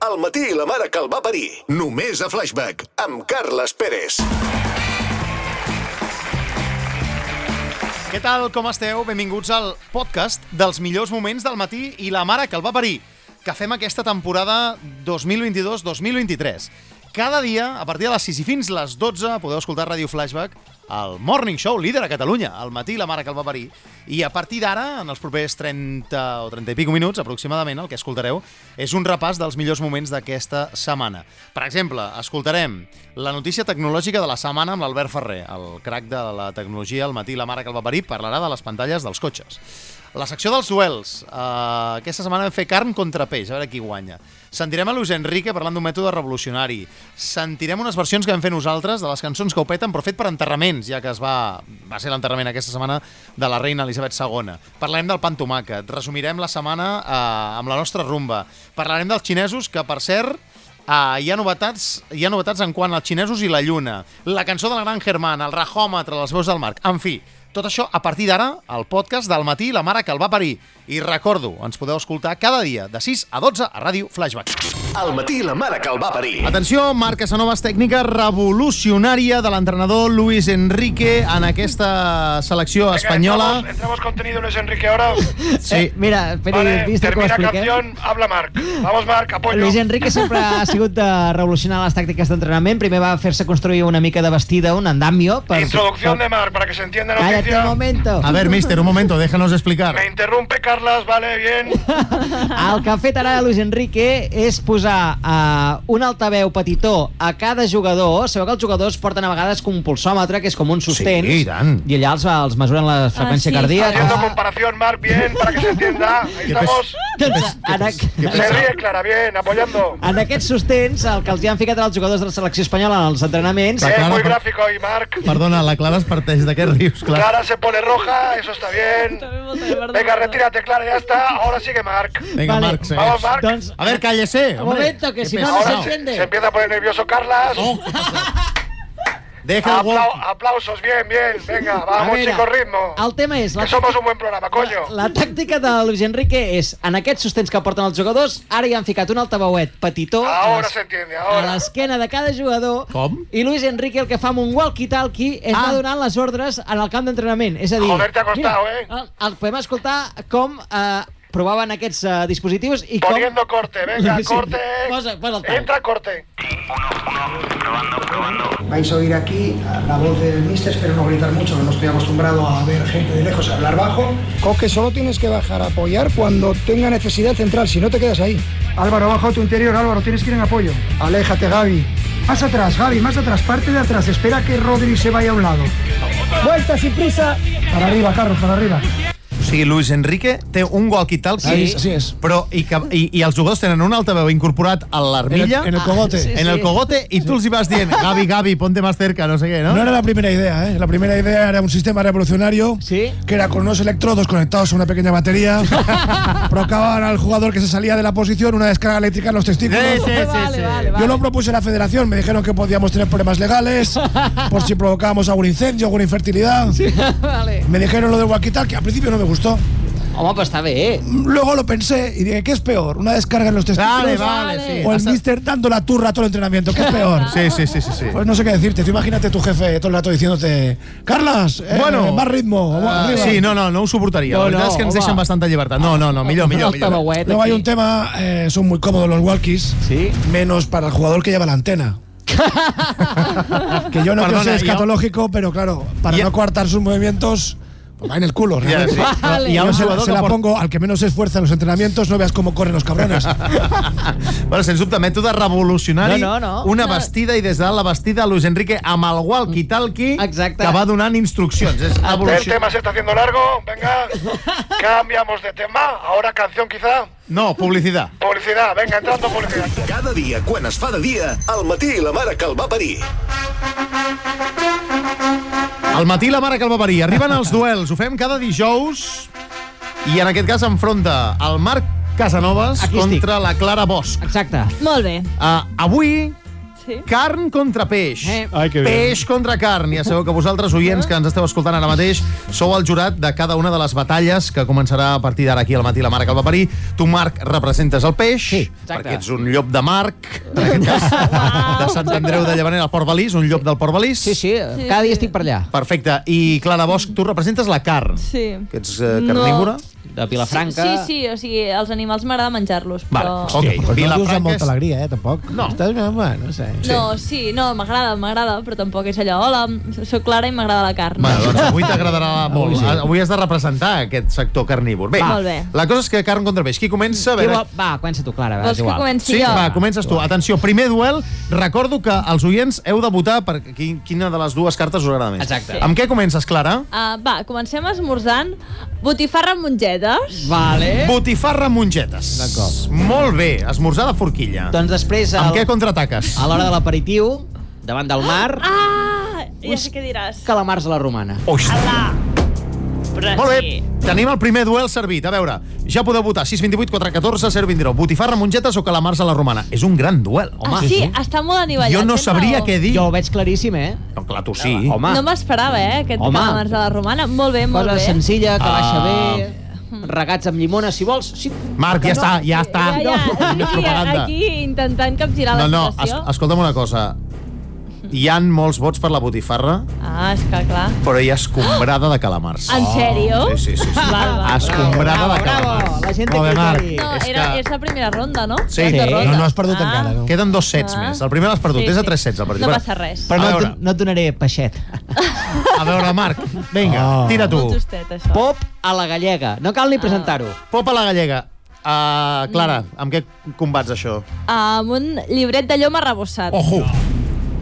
al matí i la mare que el va parir. Només a Flashback, amb Carles Pérez. Què tal, com esteu? Benvinguts al podcast dels millors moments del matí i la mare que el va parir, que fem aquesta temporada 2022-2023. Cada dia, a partir de les 6 i fins les 12, podeu escoltar Radio Flashback, el Morning Show, líder a Catalunya, al matí i la mare que el va parir. I a partir d'ara, en els propers 30 o 30 i pico minuts, aproximadament, el que escoltareu és un repàs dels millors moments d'aquesta setmana. Per exemple, escoltarem la notícia tecnològica de la setmana amb l'Albert Ferrer, el crac de la tecnologia al matí, la mare que el va parir, parlarà de les pantalles dels cotxes. La secció dels duels. Uh, aquesta setmana vam fer carn contra peix, a veure qui guanya. Sentirem a Luis Enrique parlant d'un mètode revolucionari. Sentirem unes versions que vam fer nosaltres de les cançons que ho peten, però fet per enterraments, ja que es va, va ser l'enterrament aquesta setmana de la reina Elisabet II. Parlarem del pan tomàquet. Resumirem la setmana uh, amb la nostra rumba. Parlarem dels xinesos, que per cert, Uh, hi, ha novetats, hi ha novetats en quant als xinesos i la lluna, la cançó de la gran Germana, el rajòmetre, les veus del Marc, en fi, tot això a partir d'ara, al podcast del matí, la mare que el va parir. I recordo, ens podeu escoltar cada dia, de 6 a 12, a Ràdio Flashback. Al matí i la mare que el va parir. Atenció, Marc Casanovas, tècnica revolucionària de l'entrenador Luis Enrique en aquesta selecció Entramos, espanyola. entramos contenido Luis Enrique ahora. Sí, Eh, mira, Peri, Vale, viste que ho termina expliquem? canción, habla Marc. Vamos Marc, apoyo. Luis Enrique sempre ha sigut de revolucionar les tàctiques d'entrenament. Primer va fer-se construir una mica de vestida, un andamio. Per, Introducción de Marc para que se entienda la Cállate noticia. un momento. A ver, mister, un momento, déjanos explicar. Me interrumpe Carlas, vale, bien. El que ha fet ara Luis Enrique és posar uh, un altaveu petitó a cada jugador. Sabeu que els jugadors porten a vegades com un pulsòmetre, que és com un sostens, Sí, i tant. i allà els, va- els mesuren la freqüència Ah, sí. cardíaca. Haciendo comparación Marc, bien, para que se entienda. Ahí Qué pes- estamos. Doncs, en, aqu- Se ríe Clara, bien, apoyando. en aquests sostens, el que els hi han ficat als jugadors de la selecció espanyola en els entrenaments, Eh, Clar, Es Clara, eh, muy per- gráfico hoy Marc. Perdona, la Clara es parteix, de què rius, Clara? Clara se pone roja, eso está bien. Venga, retírate Clara, ya está. Ahora sigue Marc. Vinga, Vale. Marc, segueix. Vamos Marc. doncs A ver, cállese. Un Eh, hombre. momento, que Qué si no, no pesado. se Ahora entiende. se empieza a poner nervioso Carlas. Oh, ¿qué pasa? Deja el Aplau- walkie. aplausos, bien, bien. Venga, A vamos veure, chicos, ritmo. El tema és... Que somos un buen programa, coño. La tàctica de Luis Enrique és, en aquests sostens que porten els jugadors, ara hi han ficat un altaveuet petitó a Ahora les- se entiende, a ahora. l'esquena de cada jugador Com? i Luis Enrique el que fa amb un walkie-talkie és Ah. ah. donant les ordres en el camp d'entrenament. És a dir, Joder, te ha costado, eh? Ah. el, el podem escoltar com eh, provaven aquests eh, dispositius i com... Poniendo corte, venga, Sí. corte. Posa- posa el tall. Entra corte. Vais a oír aquí la voz del mister, espero no gritar mucho, que no estoy acostumbrado a ver gente de lejos hablar bajo. Coque, solo tienes que bajar a apoyar cuando tenga necesidad central, si no te quedas ahí. Álvaro, baja a tu interior, Álvaro, tienes que ir en apoyo. Aléjate, Gaby. Más atrás, Gaby, más atrás, parte de atrás, espera que Rodri se vaya a un lado. Vuelta sin prisa. Para arriba, Carlos, para arriba. O sigui, Luis Enrique té un walkie-talkie, Sí. Així és. però i, que, i, i els jugadors tenen un altaveu incorporat a l'armilla, En el- en el cogote. sí, en el cogote, i tu els hi vas dient, Gavi, Gavi, ponte más cerca, no sé què, no? No era la primera idea, ¿eh? La primera idea era un sistema revolucionario Sí. que era con unos electrodos conectados a una pequeña batería. provocaban al jugador que se salía de la posición una descarga eléctrica en los testículos. Sí, sí, sí, Vale, vale, sí. vale. Yo lo propuse a la federación, me dijeron que podíamos tener problemas legales por si provocábamos algún incendio, alguna infertilidad. vale. Me dijeron lo de Wakital, que al principio no me gustó. Home, però està bé, eh? Luego lo pensé y dije, ¿qué es peor? ¿Una descarga en los testículos? Vale, vale, sí. ¿O el Hasta- mister dando la turra todo el entrenamiento? ¿Qué es peor? Sí, sí, sí, sí, sí. Pues no sé qué decirte. Tú imagínate tu jefe todo el rato diciéndote, Carlas, eh, más ritmo. eh, más arriba". sí, no, no, no ho suportaria. No, la veritat no, és que ens home. deixen bastanta llibertat. No, no, no, millor, millor, Un millor. altaveuet Luego hay aquí. un tema, eh, son muy cómodos los walkies, Sí. menos para el jugador que lleva la antena. que yo no Perdona, que sea yo- escatológico, pero claro, para Ya- no coartar sus movimientos, pues va en el culo. Ja, realmente. sí. Vale. Hi ha un Yo se, la- jugador se que la porta... pongo al que menos se esfuerza en los entrenamientos, no veas cómo corren los cabrones. bueno, sens dubte, mètode revolucionari. No, no, no. Una No. vestida i des de dalt la vestida Luis Enrique amb el walkie-talkie Exacte. que va donant instruccions. És El evolució... tema se está haciendo largo, venga. Cambiamos de tema. Ahora canción quizá. No, publicitat. Publicidad, venga, entrando publicidad. Cada dia, quan es fa de dia, al matí i la mare que el va parir. Al matí la mare que el va parir. Arriben els duels, ho fem cada dijous i en aquest cas enfronta el Marc Casanovas Aquí estic. contra la Clara Bosch. Exacte. Molt bé. Uh, Eh, avui Sí. Carn contra peix. Eh. Ai, que bé. peix contra carn. Ja sabeu que vosaltres, oients que ens esteu escoltant ara mateix, sou el jurat de cada una de les batalles que començarà a partir d'ara aquí al matí la Marc al Paperí. Tu, Marc, representes el peix, Sí, exacte. perquè ets un llop de Marc, en aquest cas, de Sant Andreu de Llevaner al Port Balís, un llop del Port Balís. Sí, sí, Sí, cada dia sí. estic per allà. Perfecte. I Clara Bosch, tu representes la carn. Sí. Que ets eh, carnívora? No. De Vilafranca... Sí, sí, o sigui, els animals m'agrada menjar-los, Vale. però... Però Ok, no dius amb Vilafranca molta és... alegria, eh, tampoc. No. Estàs bé, home, no sé. No, sí, no, m'agrada, m'agrada, però tampoc és allò, hola, sóc Clara i m'agrada la carn. Bueno, doncs avui t'agradarà molt. Avui has de representar aquest sector carnívor. Bé, Va. Molt bé. la cosa és que carn contra peix. Qui comença? A Qui veure... vol- Va, comença tu, Clara, va, Vols és que igual. comenci Sí, jo? va, comences tu. Atenció, primer duel. Recordo que els oients heu de votar per qui- quina de les dues cartes us agrada més. Exacte. Amb què comences, Clara? Ah, va, comencem esmorzant botifarra amb mongetes. Vale. Botifarra amb mongetes. D'acord. Molt bé, esmorzar de forquilla. Doncs després, Amb què al, contraataques? a l'hora de l'aperitiu, davant del mar, Ah, ja Uns- sé què diràs. calamars a la romana. Ostres. Però Molt bé, sí. tenim el primer duel servit. A veure, ja podeu votar 628, 414, 029. Botifarra, mongetes o calamars a la romana. És un gran duel, home. Ah, sí, està molt anivellat. eh? Jo no tens sabria raó. què dir. Jo ho veig claríssim, eh? No, clar, tu sí. Home, No m'esperava, eh, aquest Home. calamars de la romana. Molt bé, molt cosa bé. senzilla, que baixa Ah. bé, regats amb llimona, si vols. Si... Marc, ja No. està, ja està. Ja, ja, No, sí, propaganda. aquí intentant capgirar No, la no, es, situació. escolta'm una cosa. Hi han molts vots per la botifarra, Ah, és que clar. però hi ha escombrada de calamars. En sèrio? Oh, Sí, sí, sí. sí. Val, val, Escombrada bravo, de calamars. bravo, la gent Molt bé, que Marc. quedi. No, és era, que és la primera ronda, no? Sí. Era Sí. ronda. No, no has perdut encara, no. Queden dos sets Ah. més. El primer l'has perdut, Sí, és a sí. tres sets. El partit. No Bueno, passa res. Però a, no, et- veure, no et donaré peixet. a veure, Marc, vinga, Oh. tira tu. Molt justet, això. Ah. Pop a la gallega. No cal ni presentar-ho. Pop a la gallega. Uh, Clara, Mm. amb què combats això? Amb un llibret de llom arrebossat. Ojo!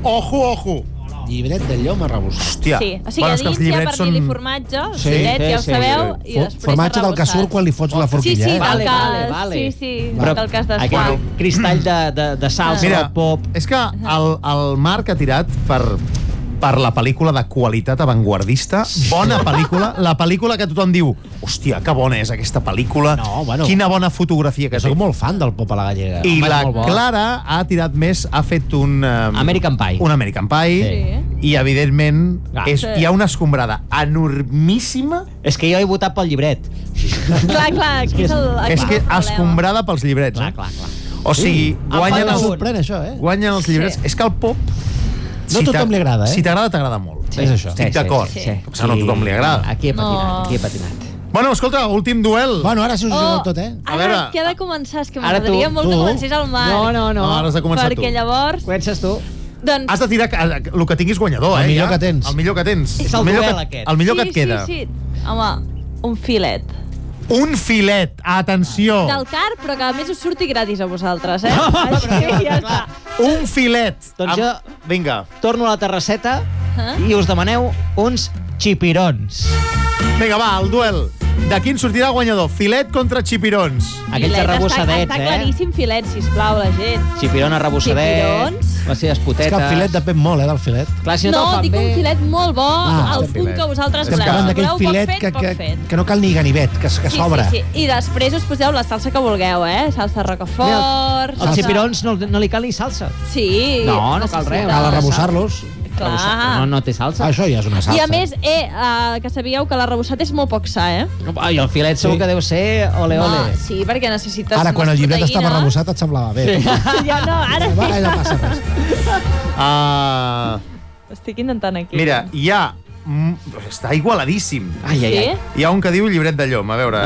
Ojo, ojo! Llibret de llom arrebossat. Hòstia. Sí, o sigui, a és que els dins hi ha llibrets pernil i formatge, Sí, sí, filet, sí, ja ho sí. sabeu, i Fo- després Formatge del que arrebossat. surt quan li fots la Sí, forquilla. sí, eh? del Vale, que, vale, vale. sí, sí, del que el cas de Aquell Juan. cristall de, de, de salsa, Mira, de pop... és que el, el Marc ha tirat per per la pel·lícula de qualitat avantguardista, bona pel·lícula, la pel·lícula que tothom diu, hòstia, que bona és aquesta pel·lícula, No, bueno. quina bona fotografia que té. Soc molt fan del pop a la gallega. I Home, la molt bo. Clara ha tirat més, ha fet un... Um, American Pie. Un American Pie. Sí. I, evidentment, Ah. és, Sí. hi ha una escombrada enormíssima És que jo he votat pel llibret. Clar, clar, Ah, aquí és el, aquí és el que problema. escombrada pels llibrets. Clar, eh? clar, clar. O sigui, guanyen, Em el, Ah, sorprèn, això, eh? guanyen els llibrets. Sí. És que el pop... No a t'a- tothom li agrada, eh? Si t'agrada, t'agrada molt. Sí, és això. Estic d'acord. sí, Sí, sí. Potser no a tothom li agrada. Aquí he patinat, No. aquí he patinat. Bueno, escolta, últim duel. Bueno, ara sí us ho Oh, oh. tot, eh? A Ara, veure. què ha de començar? És que Ara tu, m'agradaria molt que tu. comencés el Marc. No, no, no. No, ara has de començar perquè tu. llavors, Comences tu. doncs... Has de tirar ca- el que tinguis guanyador, El eh? millor ja. que tens. El millor que tens. És el millor duel, que, aquest. El millor sí, que et queda. Sí, sí, home, un filet. Un filet, atenció. Del car, però que a més us surti gratis a vosaltres, eh? Així, ja està. Un filet. Doncs Am- jo- Vinga, Torno a la terrasseta Eh? i us demaneu uns xipirons. vinga, va, el duel. De quin sortirà guanyador? Filet contra xipirons. Aquells Filet, arrebossadets, està, està eh? claríssim filet, sisplau, la gent. Xipirón arrebossadet, Xipirons. les seves És potetes... que el filet depèn molt, eh, del filet. Clar, si no, no, te'l fan dic bé. un filet molt bo, Ah, al un punt filet. que vosaltres Estem Estem voleu. parlant Si d'aquell voleu filet poc que, fet, poc que, fet. que no cal ni ganivet, que, que Sí, s'obre. sí, sí. I després us poseu la salsa que vulgueu, eh? Salsa roquefort... Els xipirons no, no li cal ni salsa. Ah. Sí. No, no cal res. Cal necessita- arrebossar-los. Clar. No, no té salsa. Això ja és una salsa. I a més, eh, eh, que sabíeu que l'arrebossat és molt poc sa, eh? Ai, el filet segur Sí. que deu ser ole, ole. Home, sí, perquè necessites Ara, quan unes el llibret estava proteïnes. arrebossat, et semblava bé. Sí. Ja no, ara Va, ja no passa res. Ah, Estic intentant aquí. mira, hi ha... mm, Està igualadíssim. Ai, ai, ai. Hi ha un que diu llibret de llom, a veure...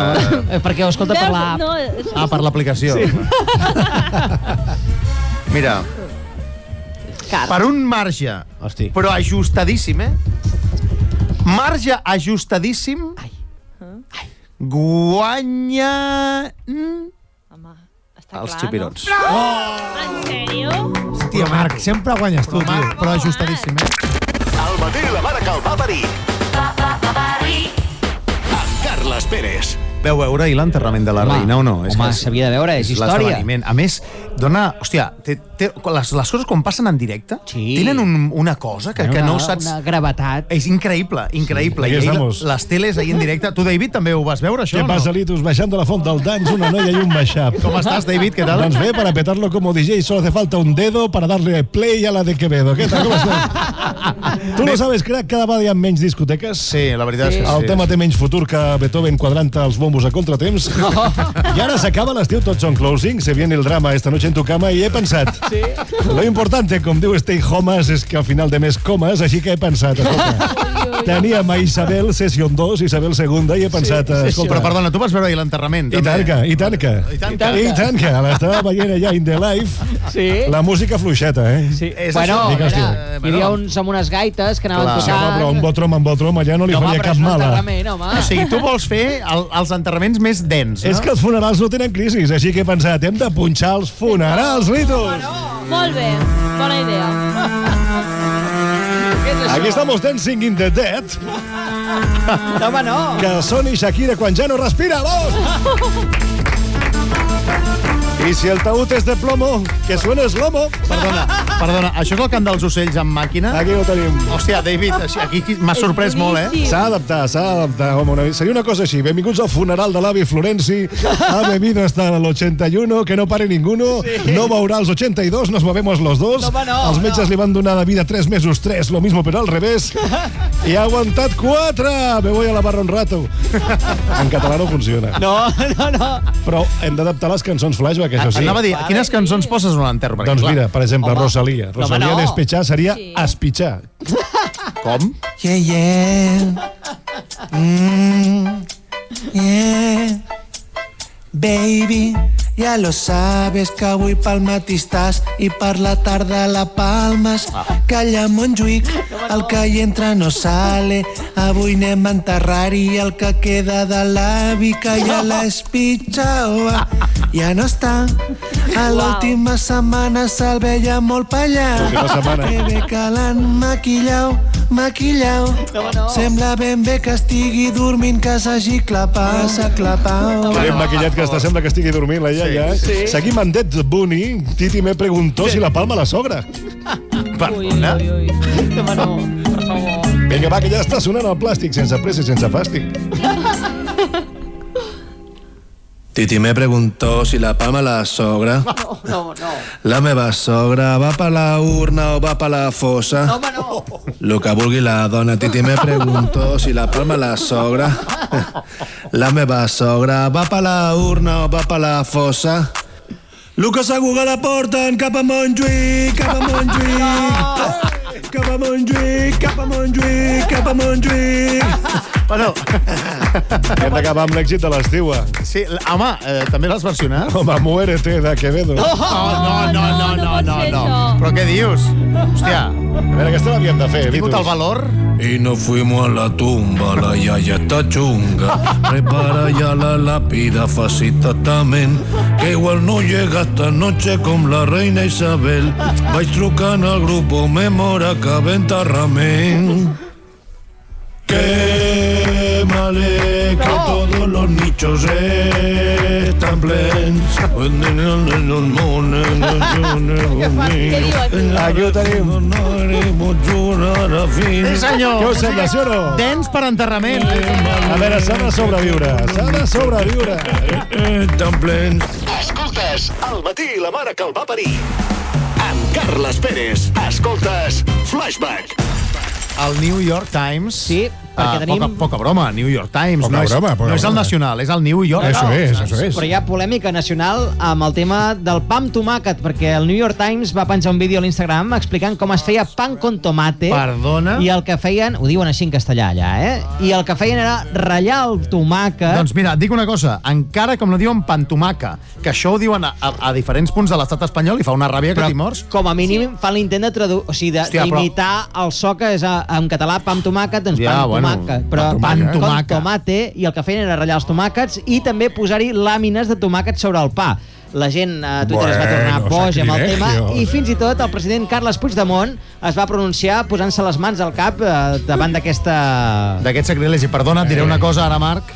Eh, Perquè ho escolta per la... No, és- Ah, per l'aplicació. Sí. Mira, Car. per un marge, Hosti. però ajustadíssim, eh? Marge ajustadíssim, guanya... mm, Home, està Els clar, xipirons. No? Oh! En sèrio? Hòstia, Marc, sempre guanyes tu, tio. Però ajustadíssim, eh? Al matí la mare que el va parir. Amb Carles Pérez. Veu veure i l'enterrament de la Home, reina o no? home, s'havia de veure, és història. l'esdeveniment. A més, dona... Hòstia, té, té, les, les coses quan passen en directe Sí. tenen un, una cosa que, que no una, saps... Una gravetat. És increïble, increïble. Sí, aquí I ahir estamos. les teles ahir en directe... Tu, David, també ho vas veure, això? Què o passa, Litus? Baixando la font del Dans, una noia y un mashup. ¿Cómo estás, David? ¿Qué tal? Doncs bé, para petarlo como DJ solo hace falta un dedo para darle play a la de Quevedo. ¿Qué tal? ¿Cómo estás? tu no sabes, crac, cada vegada hi ha menys discoteques. No? Sí, la veritat sí. és que El sí. tema té menys futur que Beethoven quadrant els bombos a contratemps. I ara s'acaba l'estiu, tots són closing, se viene el drama esta noche en tu cama i he pensat... Sí. Lo importante, com diu Stay Homes, és que al final de mes comes, així que he pensat... Escolta, teníem a Isabel Session 2, Isabel II, i he pensat... Sí, Escolta, però perdona, tu vas veure ahir l'enterrament. i tant que, i tant que. I tant que. I tant que. L'estava veient allà in the life. Sí. La música fluixeta, eh? Sí. És Bueno, això. mira, Digues, tio. hi havia uns amb unes gaites que anaven Clar. Sí, home, però un tocant. botrom amb botrom allà no li faria cap mala. Realment, home. O sigui, tu vols fer el, els enterraments més dens, no? És que els funerals no tenen crisis, així que he pensat, hem de punxar els funerals, Litus! Molt bé, bona idea. Aquí estamos dancing in the dead, No, home, no. que són i Shakira quan ja no respira, vos! I si el taüt és de plomo, que suena es lomo. Perdona, perdona, això és el cant dels ocells amb màquina? Aquí ho tenim. Hòstia, David, així- aquí aquí m'ha sorprès molt, eh? boníssim. S'ha d'adaptar, s'ha d'adaptar. Home, una... seria una cosa així. Benvinguts al funeral de l'avi Florenci. Ha bebido hasta el 81, que no pare ninguno. Sí. No veurà els 82, nos movemos los dos. No, home, no, els metges no. li van donar de vida 3 mesos 3, lo mismo però al revés. I ha aguantat 4. Me voy a la barra un rato. En català no funciona. No. No, no, no. Però hem d'adaptar les cançons flashback, això sí. Ah, Anava a dir, quines cançons poses en un enterro? Perquè, Doncs clar, mira, per exemple, Home. Rosalia. No, home, Rosalia no. despetxar seria Sí. espitxar. Com? Yeah, yeah. Mm, yeah. Baby, ja lo sabes que avui pel matí estàs i per la tarda a la Palmes. Ah. Que allà a Montjuïc el que hi entra no sale. Avui anem a enterrar i el que queda de l'avi que ja l'espitxava. Ja no està. A l'última setmana se'l veia molt pallau. L'última setmana. Que bé que l'han maquillau, maquillau. No, no. Sembla ben bé que estigui dormint, que s'hagi clapat, s'ha clapat. Que ben maquillat que està, sembla que estigui dormint la iaia. Sí, sí. Seguim amb Dead Bunny. Titi me preguntó si la palma la sobra. Ui, ui, Perdona? ui, ui. Home, no, per favor. Vinga, va, que ja està sonant el plàstic, sense pressa i sense fàstic. Titi me preguntó si la palma la sogra. No, no, no. La meva sogra va per la urna o va per la fossa. Home, no. Lo que vulgui la dona. Titi me preguntó si la palma la sogra. La meva sogra va per la urna o va per la fossa. Lo que segur que la porten cap a Montjuïc, cap a Montjuïc. Cap a Montjuïc, cap a Montjuïc, cap a Montjuïc. Bueno, Hem d'acabar amb l'èxit de l'estiu. eh? sí, home, eh, també l'has versionat? Home, muérete de Quevedo. No, no, no, no, no, no, no, no pot ser no. això. Però què dius? Hòstia, A veure, aquesta l'havíem de fer, he tingut el Vitus. valor... Y nos fuimos a la tumba, la yaya está chunga. Prepara ya la lápida, facita también. Que igual no llega esta noche con la reina Isabel. Vais trucando al grupo Memora Caventa Ramén. Quémale que todos los nichos están plenos. Aquí ho tenim. Sí, senyor. Què us sembla, sí o no? Dents per enterrament. A veure, s'ha de sobreviure. S'ha de sobreviure. Escoltes El matí i la mare que el va parir. Amb Carles Pérez. Escoltes Flashback. El New York Times... Sí, perquè Ah, tenim- Poca, poca broma, New York Times. Poca no és, broma, poca no és el broma. nacional, és el New York Eso es, eso es. Però hi ha polèmica nacional amb el tema del pa amb tomàquet, perquè el New York Times va penjar un vídeo a l'Instagram explicant com es feia pan con tomate. Perdona? I el que feien, ho diuen així en castellà allà, eh? I el que feien era ratllar el tomàquet. Doncs mira, et dic una cosa, encara com la diuen pantomaca, que això ho diuen a, a, a diferents punts de l'estat espanyol i fa una ràbia que t'hi mors. com a mínim sí. fan l'intent de traduir, o sigui, de- Hòstia, però- d'imitar però... el so que és a, en català pa amb tomàquet, doncs Ja, ja, pa amb bueno, bueno, tomàquet, però pa amb pa amb tomàquet. tomàquet. tomate, i el que feien era ratllar els tomàquets i també posar-hi làmines de tomàquet sobre el pa. La gent eh, a Twitter es va tornar Bueno, boja amb el tema sacrilegio. i fins i tot el president Carles Puigdemont es va pronunciar posant-se les mans al cap eh, davant d'aquesta... Eh. D'aquest sacrilegi, perdona, et diré una cosa ara, Marc.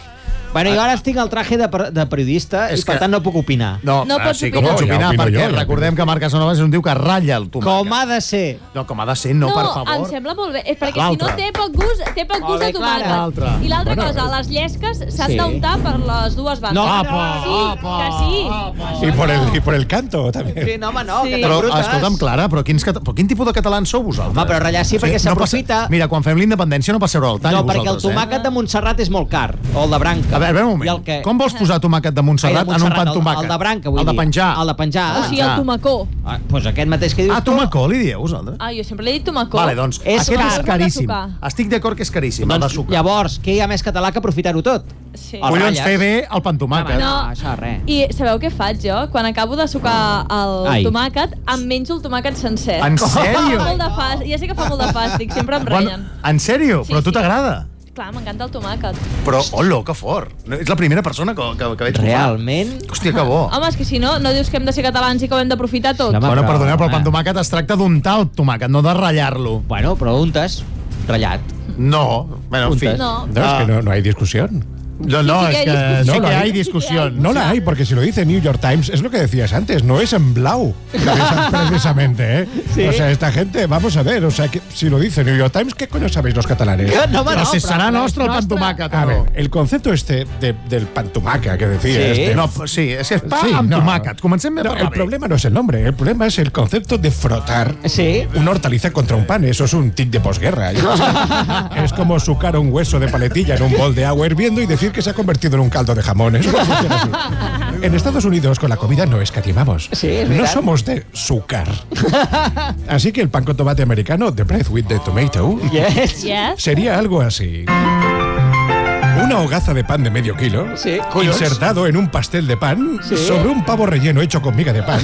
Bueno, jo ara estic al traje de, per- de periodista Ah. És i per que- tant no Ah, puc opinar. No, no pots sí que pots opinar, perquè recordem que Marc Casanova és un tio que ratlla el tomàquet. Com ha de ser. No, com ha de ser, no, per em favor. sembla molt bé. És perquè si no L'altre. té poc gust, té poc Molt gust de bé, Clara. tomàquet. L'altre. I l'altra Bueno, cosa, les llesques s'han sí. d'untar per les dues bandes. No, apa, sí, apa, que sí. I por el, y por el canto, també. Sí, no, home, no, Sí. que tan Però, brutes. escolta'm, Clara, però, quins, cata- però quin tipus de catalans sou vosaltres? Home, però ratllar sí, perquè s'aprofita. passa- Mira, quan fem la independència no passeu al tall, No, perquè el vosaltres, tomàquet de Montserrat és molt car, o el de Eh? Branca. A veure, a veure un I moment. el que... Com vols posar tomàquet de Montserrat, Ai, de en un pan el- tomàquet? El de Branca, vull El de dir. penjar. El de penjar. O sigui, el tomacó. Ah, doncs aquest mateix que dius Ah, tomacó, li dieu vosaltres? Ah, jo sempre li he dit tomacó. Vale, doncs, És aquest car. és caríssim. El de sucar. Estic d'acord que és caríssim, el de Doncs, sucar. llavors, què hi ha més català que aprofitar-ho tot? Sí. El Collons, ratlles. fer bé el pan tomàquet. No. Això, res. I sabeu què faig jo? Quan acabo de sucar el Ai. tomàquet, em menjo el tomàquet sencer. En sèrio? Fa molt de fàstic. Ja sé que fa molt de fàstic, sempre em reien. en sèrio? Però a tu t'agrada? Clar, m'encanta el tomàquet. Però, holo, que fort. No, Ets la primera persona que, que, que veig. Realment? Hòstia, que bo. Home, és que si no, no dius que hem de ser catalans i que ho hem d'aprofitar tot. bueno, perdoneu, però el pan tomàquet es tracta d'untar el tomàquet, no de ratllar-lo. Bueno, però untes, ratllat. No, bueno, en fi. Untes. No. No, es que no, no hay discusión. No, no, Sí, sí es que hay que discusión. sí que hay No la hay. Sí que hay discusión. No la hay, porque si lo dice New York Times, es lo que decías antes, no es en blau, precisa- precisamente, ¿eh? O sea, esta gente, vamos a ver, o sea, que si lo dice New York Times, ¿qué coño sabéis los catalanes? Que no, home, Però no, si però- serà però nostre el pan nostre. tomàquet, A no. ver, el concepto este de- del pantumaca que decía Sí. este... No, pues sí, es que es pa Sí, amb no. tomàquet. Comencem bé No, per la el B. problema no es el nombre, el problema es el concepto de frotar Sí. una hortaliza contra un pan. Eso es un tic de posguerra. Yo no sé. es como sucar un hueso de paletilla en un bol de agua hirviendo y decir que se ha convertido en un caldo de jamón. Eso no funciona así. En Estados Unidos con la comida no escatimamos. Sí, es no verdad. somos de sucar. Así que el pan con tomate americano, The Bread with the Tomato, Yes. Yes? sería algo así. Una hogaza de pan de medio kilo, Sí. insertado en un pastel de pan, Sí. sobre un pavo relleno hecho con miga de pan,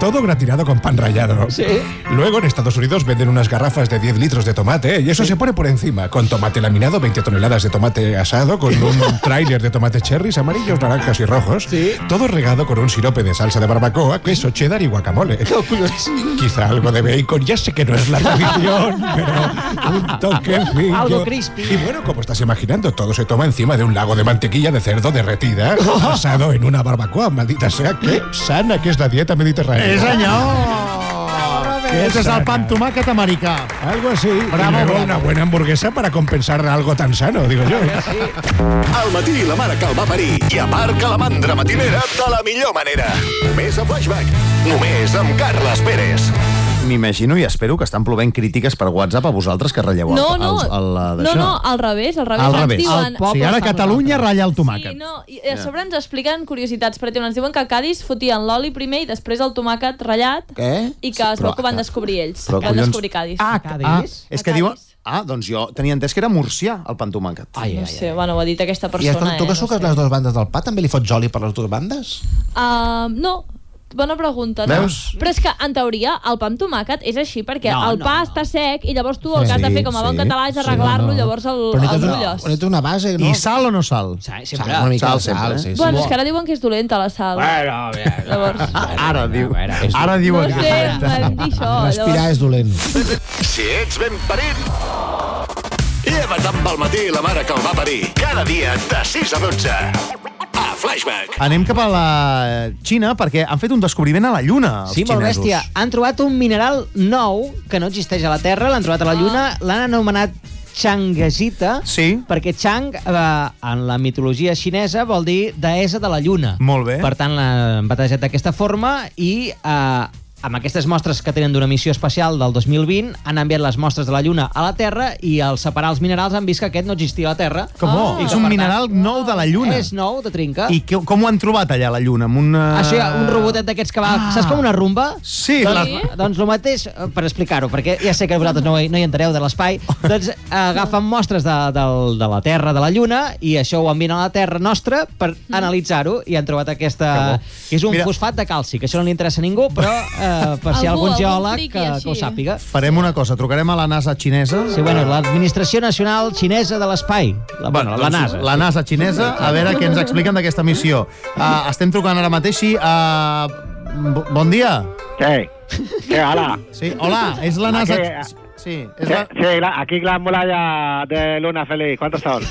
todo gratinado con pan rallado. Sí. Luego en Estados Unidos venden unas garrafas de 10 litros de tomate ¿eh? y eso se pone por encima, con tomate laminado, 20 toneladas de tomate asado, con un tráiler de tomate cherries amarillos, naranjas y rojos, Sí. todo regado con un sirope de salsa de barbacoa, queso cheddar y guacamole. Quizá algo de bacon, ya sé que no es la tradición, pero un toque en fin, Algo yo- crispy. Y bueno, como estás imaginando, todo se toma encima de un lago de mantequilla de cerdo derretida, asado en una barbacoa, maldita sea, qué sana que es la dieta mediterránea. Eh, senyor! Aquest és el pan tomàquet americà. Algo así. Bravo, y luego bravo. una buena hamburguesa para compensar algo tan sano, digo yo. Al matí la mare que el va parir i a Marc Calamandra matinera de la millor manera. Només a Flashback. Només amb Carles Pérez. M'imagino i espero que estan plovent crítiques per WhatsApp a vosaltres que ratlleu No, el, no, el, el, el, no, no, al revés, al revés. Al Ens revés. Diuen, O sigui, ara Catalunya ratlla el tomàquet. Sí, no, i a sobre ens expliquen curiositats. Per exemple, ens diuen que a Cádiz fotien l'oli primer i després el tomàquet ratllat Què? i que es Però- veu que ho van descobrir ells. però Però, van collons- descobrir Cádiz. Ah, ah, Cádiz? és que A diuen... Cádiz. Ah, doncs jo tenia entès que era murcià, el pan tomàquet. Ai, ai, ai. no sé, bueno, ho ha dit aquesta I persona. escolta, tu que suques eh, les dues bandes del pa, també li fots oli per les dues bandes? Uh, no, bona pregunta. No? Veus? Però és que, en teoria, el pa amb tomàquet és així, perquè No, el no, pa no. està sec i llavors tu el que has de fer com a bon sí, català és sí, arreglar-lo, no, no. llavors el, Però el necessites una, brulles. necessites una base, no? I sal o no sal? Sai, Sal, sempre. una mica Sal de sal, sempre, eh? sí, sí. Bueno, és que ara diuen que és dolenta la sal. Bueno, bé. Llavors, Ah, Ara diu, Bueno, bueno. ara diu no el que sé, em van dir això. Respirar Llavors, és dolent. Si ets ben parit, lleva't amb el matí la mare que el va parir. Cada dia de 6 a 12. A Flashback. Anem cap a la Xina perquè han fet un descobriment a la Lluna, els Sí, molt xinesos. bèstia. Han trobat un mineral nou que no existeix a la Terra, l'han trobat a la Lluna, l'han anomenat Changasita, Sí. perquè Chang, eh, en la mitologia xinesa, vol dir deessa de la Lluna. Molt bé. Per tant, l'han batejat d'aquesta forma i... Eh, amb aquestes mostres que tenen d'una missió espacial del 2020, han enviat les mostres de la Lluna a la Terra i al separar els minerals han vist que aquest no existia a la Terra. Com oh, I és que, un per mineral nou de la Tant, Lluna. Ah. és nou, de trinca. I que, com ho han trobat allà, a la Lluna? Amb una... Això, un robotet d'aquests que va... Ah. Saps com una rumba? Sí, la... Doncs, doncs el mateix, eh, per explicar-ho, perquè ja sé que vosaltres no, hi- no hi entrareu de l'espai, doncs eh, agafen mostres de, de, de la Terra, de la Lluna, i això ho envien a la Terra nostra per analitzar-ho, i han trobat aquesta... Mm. Que és un Mira- Mira. fosfat de calci, que això no li interessa a ningú, però eh, per si hi ha Algú, algun algun geòleg friqui que, així. que ho sàpiga. Farem una cosa, trucarem a la NASA xinesa. Sí, bueno, l'Administració Nacional Xinesa de l'Espai. La, bueno, la doncs, NASA. La NASA xinesa, a veure què ens expliquen d'aquesta missió. Uh, estem trucant ara mateix, sí. Uh, bon dia. Què? Què, ara? Sí, hola, és la NASA... Aquí, eh, Sí, Sí, sí, la- aquí la muralla de Luna Feliz. ¿Cuántos son?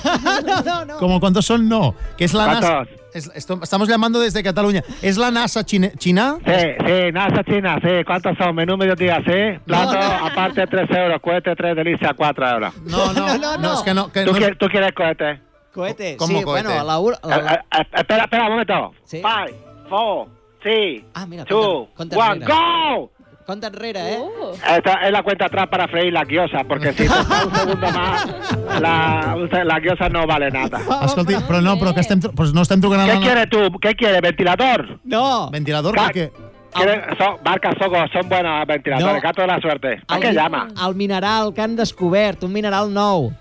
Como cuántos son, no. Que es la NASA. ¿Cuántos? es- esto- estamos llamando desde Cataluña. ¿Es la NASA chine- china? Sí, sí, NASA China, sí. ¿Cuántos son? Menú mediodía, sí. Plato, aparte, 3 euros. Cohete, 3 delicias, 4 euros. No, no, no, es que no. Que ¿Tú, no- quieres, ¿Tú quieres cohete? Cohete, ¿Cómo sí, cohete? bueno, a la, ur- a la- Eh, eh, espera, espera un momento. Sí. Five, four, three, Ah, mira, two, conta- conta one, go! Conta enrere, eh? Uh. Esta es la cuenta atrás para freír la guiosa, porque si pasa un segundo más, la, la guiosa no vale nada. Escolti, però no, però que estem, tru- pues no estem trucant a ¿Qué la... quieres tú? ¿Qué quieres? ¿Ventilador? No. Ventilador, Ca- per què? ¿Quieres- son- marca Sogo, son buenos ventiladores, No. gato de la suerte. ¿A qué mi- llama? El mineral que han descobert, un mineral nou.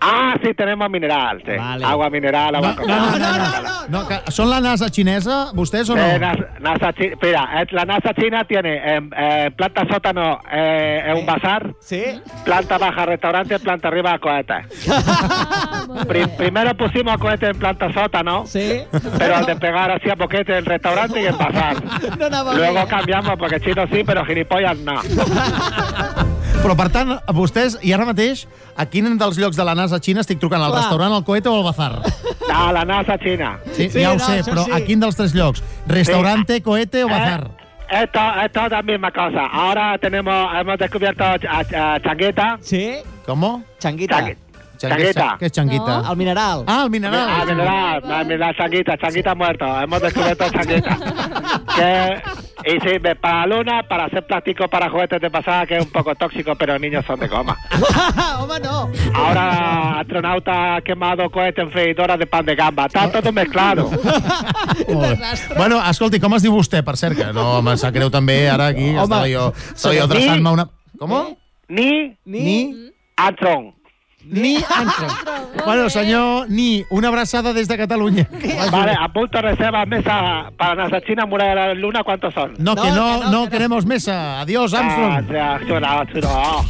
Ah, sí, tenemos mineral. sí. Agua mineral, agua con- No, que són la NASA xinesa, vostès o no? Eh, NASA, NASA chi- mira, eh, la NASA china tiene eh, eh, planta sótano eh, en un bazar, planta baja restaurante, planta arriba cohetes. Pri- primero pusimos cohetes en planta sótano, pero al despegar hacía boquete en restaurante y en bazar. No anava Luego bé. cambiamos porque chinos sí, pero gilipollas no. Però, per tant, a vostès, i ara mateix, a quin dels llocs de la NASA xina estic trucant? Al Clar. restaurant, al cohete o al bazar? No, la NASA china. Sí, ja ho sé, però a quin dels tres llocs? Restaurante, cohete o bazar? Eh, Esto, esto es la misma cosa. Ahora tenemos, hemos descubierto a, a- Changueta. Sí. ¿Cómo? Changuita. Changuita. Què és changuita? El mineral. Ah, el mineral. Ah, mineral, la, la changuita, changuita muerto. Hemos descubierto changuita. que, y sirve para luna, para hacer plástico para juguetes de pasada, que es un poco tóxico, pero niños son de goma. Home, no. Ahora astronauta quemado, cohete en freidora de pan de gamba. Está todo mezclado. Molt bé. Bueno, escolti, com es diu vostè, per cert? Que no, em sap greu també, ara aquí Home. estava jo, estava jo adreçant-me a una... Com? Ni. Ni. Antron. Ni Antron. Bueno, senyor Ni, una abraçada des de Catalunya. Vale, apunto reservas mesa para NASA China, muralla de la luna, ¿cuántos son? No, que no, no, queremos mesa. Adiós, Ah, Armstrong. ja, xulo, xulo.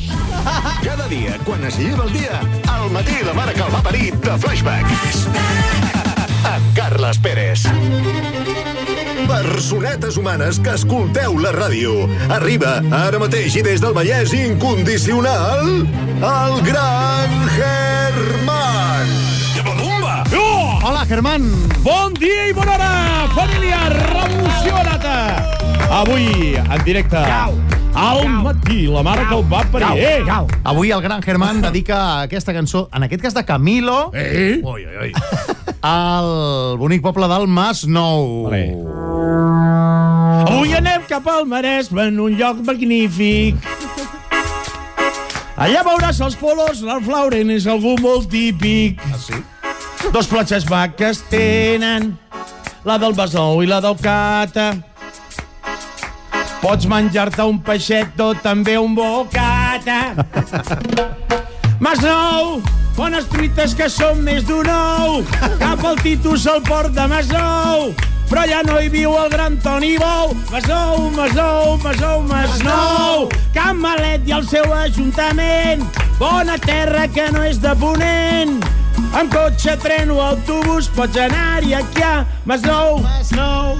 Cada dia, quan es lleva el dia, al matí la mare que el va parir de Flashback. Amb Carles Pérez. Personetes humanes que escolteu la ràdio. Arriba, ara mateix i des del Vallès incondicional, el gran Germán. Que bomba! Hola, Germán! Bon dia i bona hora, família revolucionata! Avui, en directe, al matí, la mare que el va parir. Eh? Avui el gran Germán dedica aquesta cançó, en aquest cas de Camilo, Eh? ui, ui, ui, al bonic poble del Mas Nou. Vale. Avui anem cap al Maresme en un lloc magnífic. Allà veuràs els polos, l'Art Flauren és algú molt típic. Ah, sí? Dos platges maques tenen, la del Besnou i la del Cata. Pots menjar-te un peixet o també un bocata. Mas Nou, bones truites que som més d'un ou. Cap al Titus al port de Masnou. Però ja no hi viu el gran Toni Bou. Masnou, Masnou, Masnou, Masnou. Can Malet i el seu ajuntament. Bona terra que no és de ponent. Amb cotxe, tren o autobús pots anar-hi aquí a Masnou. Masnou.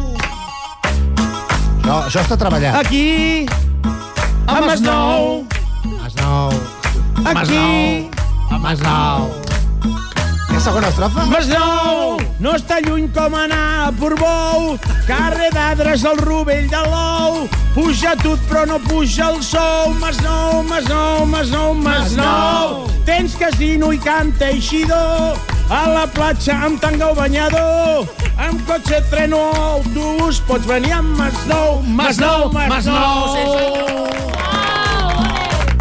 No, això està treballat. Aquí, a Masnou. Masnou. Aquí. A Masnou. És segona estrofa? Masnou, no està lluny com anar a Portbou. Carrer d'Adres, el rovell de l'ou. Puja tot, però no puja el sou. Masnou, Masnou, Masnou, Masnou. Tens casino i camp teixidor. A la platja amb tanga o banyador. Amb cotxe, tren o autobús pots venir amb Masnou. Masnou, Masnou.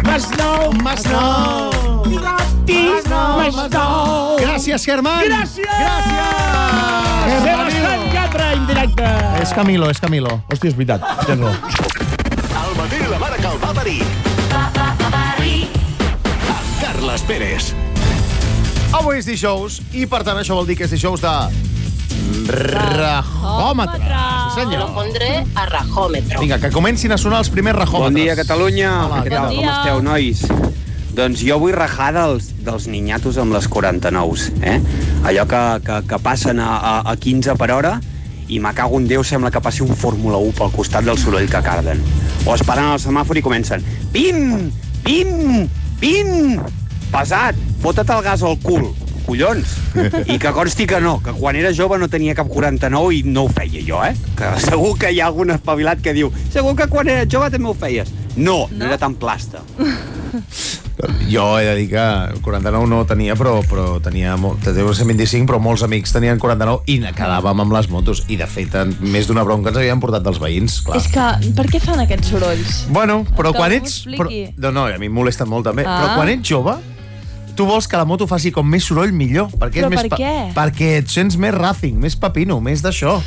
Masnou, Masnou. Masnou, Masnou. Gràcies, Germán. Gràcies! Gràcies! Sebastián Yatra, en directe. És Camilo, és Camilo. Hòstia, és veritat. Tens raó. Al matí la mare que el va parir. Amb Carles Pérez. Avui és dijous i, per tant, això vol dir que és dijous de... Rajòmetre. Sí, senyor. pondré a rajómetro. Vinga, que comencin a sonar els primers rajòmetres. Bon dia, Catalunya. Hola, Què què tal? tal? Com esteu, nois? Doncs jo vull rajar dels, dels ninyatos amb les 49s, eh? Allò que, que, que passen a, a, a 15 per hora i me cago en Déu, sembla que passi un Fórmula 1 pel costat del soroll que carden. O es paren al semàfor i comencen 20, 20, 20, pesat, fota't el gas al cul, collons. I que consti que no, que quan era jove no tenia cap 49 i no ho feia jo, eh? Que segur que hi ha algun espavilat que diu segur que quan era jove també ho feies. No, no, no era tan plasta. Jo he de dir que 49 no tenia, però, però tenia... molt- Te deu ser 25, però molts amics tenien 49 i ne- quedàvem amb les motos. I, de fet, en- més d'una bronca ens havien portat dels veïns, clar. És que, per què fan aquests sorolls? Bueno, però Que quan algú ets... Però, expliqui. no, no, a mi em molesta molt, també. Ah. Ah. Però quan ets jove, tu vols que la moto faci com més soroll, millor. Perquè Però és més per què? Perquè et sents més racing, més papino, més d'això.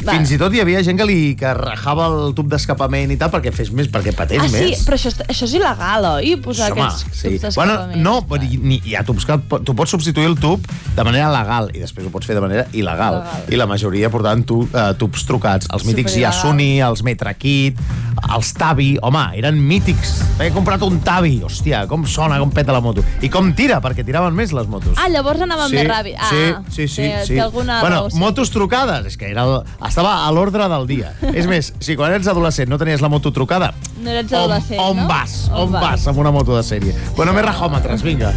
Va. Fins i tot hi havia gent que li que rajava el tub d'escapament i tal perquè fes més, perquè pateix Ah, més. sí, però això, està- això és il·legal, oi? Posar aquests tubs Bueno, d'escapament. no, però hi, ni- hi ha tubs que po- tu pots substituir el tub de manera legal i després ho pots fer de manera il·legal. Legal. I la majoria portaven tu, eh, tubs trucats. Els mítics Superil·legal. Yasuni, els Metrakit, els Tavi, home, eren mítics. He comprat un Tavi, hòstia, com sona, com peta la moto. I com tira, perquè tiraven més les motos. Ah, llavors anaven més ràpid. Ah, sí, sí, sí. té- sí. Té alguna bueno, raó, sí. motos trucades, és que era el, estava a l'ordre del dia. és més, si quan eres adolescent no tenies la moto trucada, No eres adolescent, on no? vas? On, vas amb una moto de sèrie? Bueno, més rajòmetres, vinga.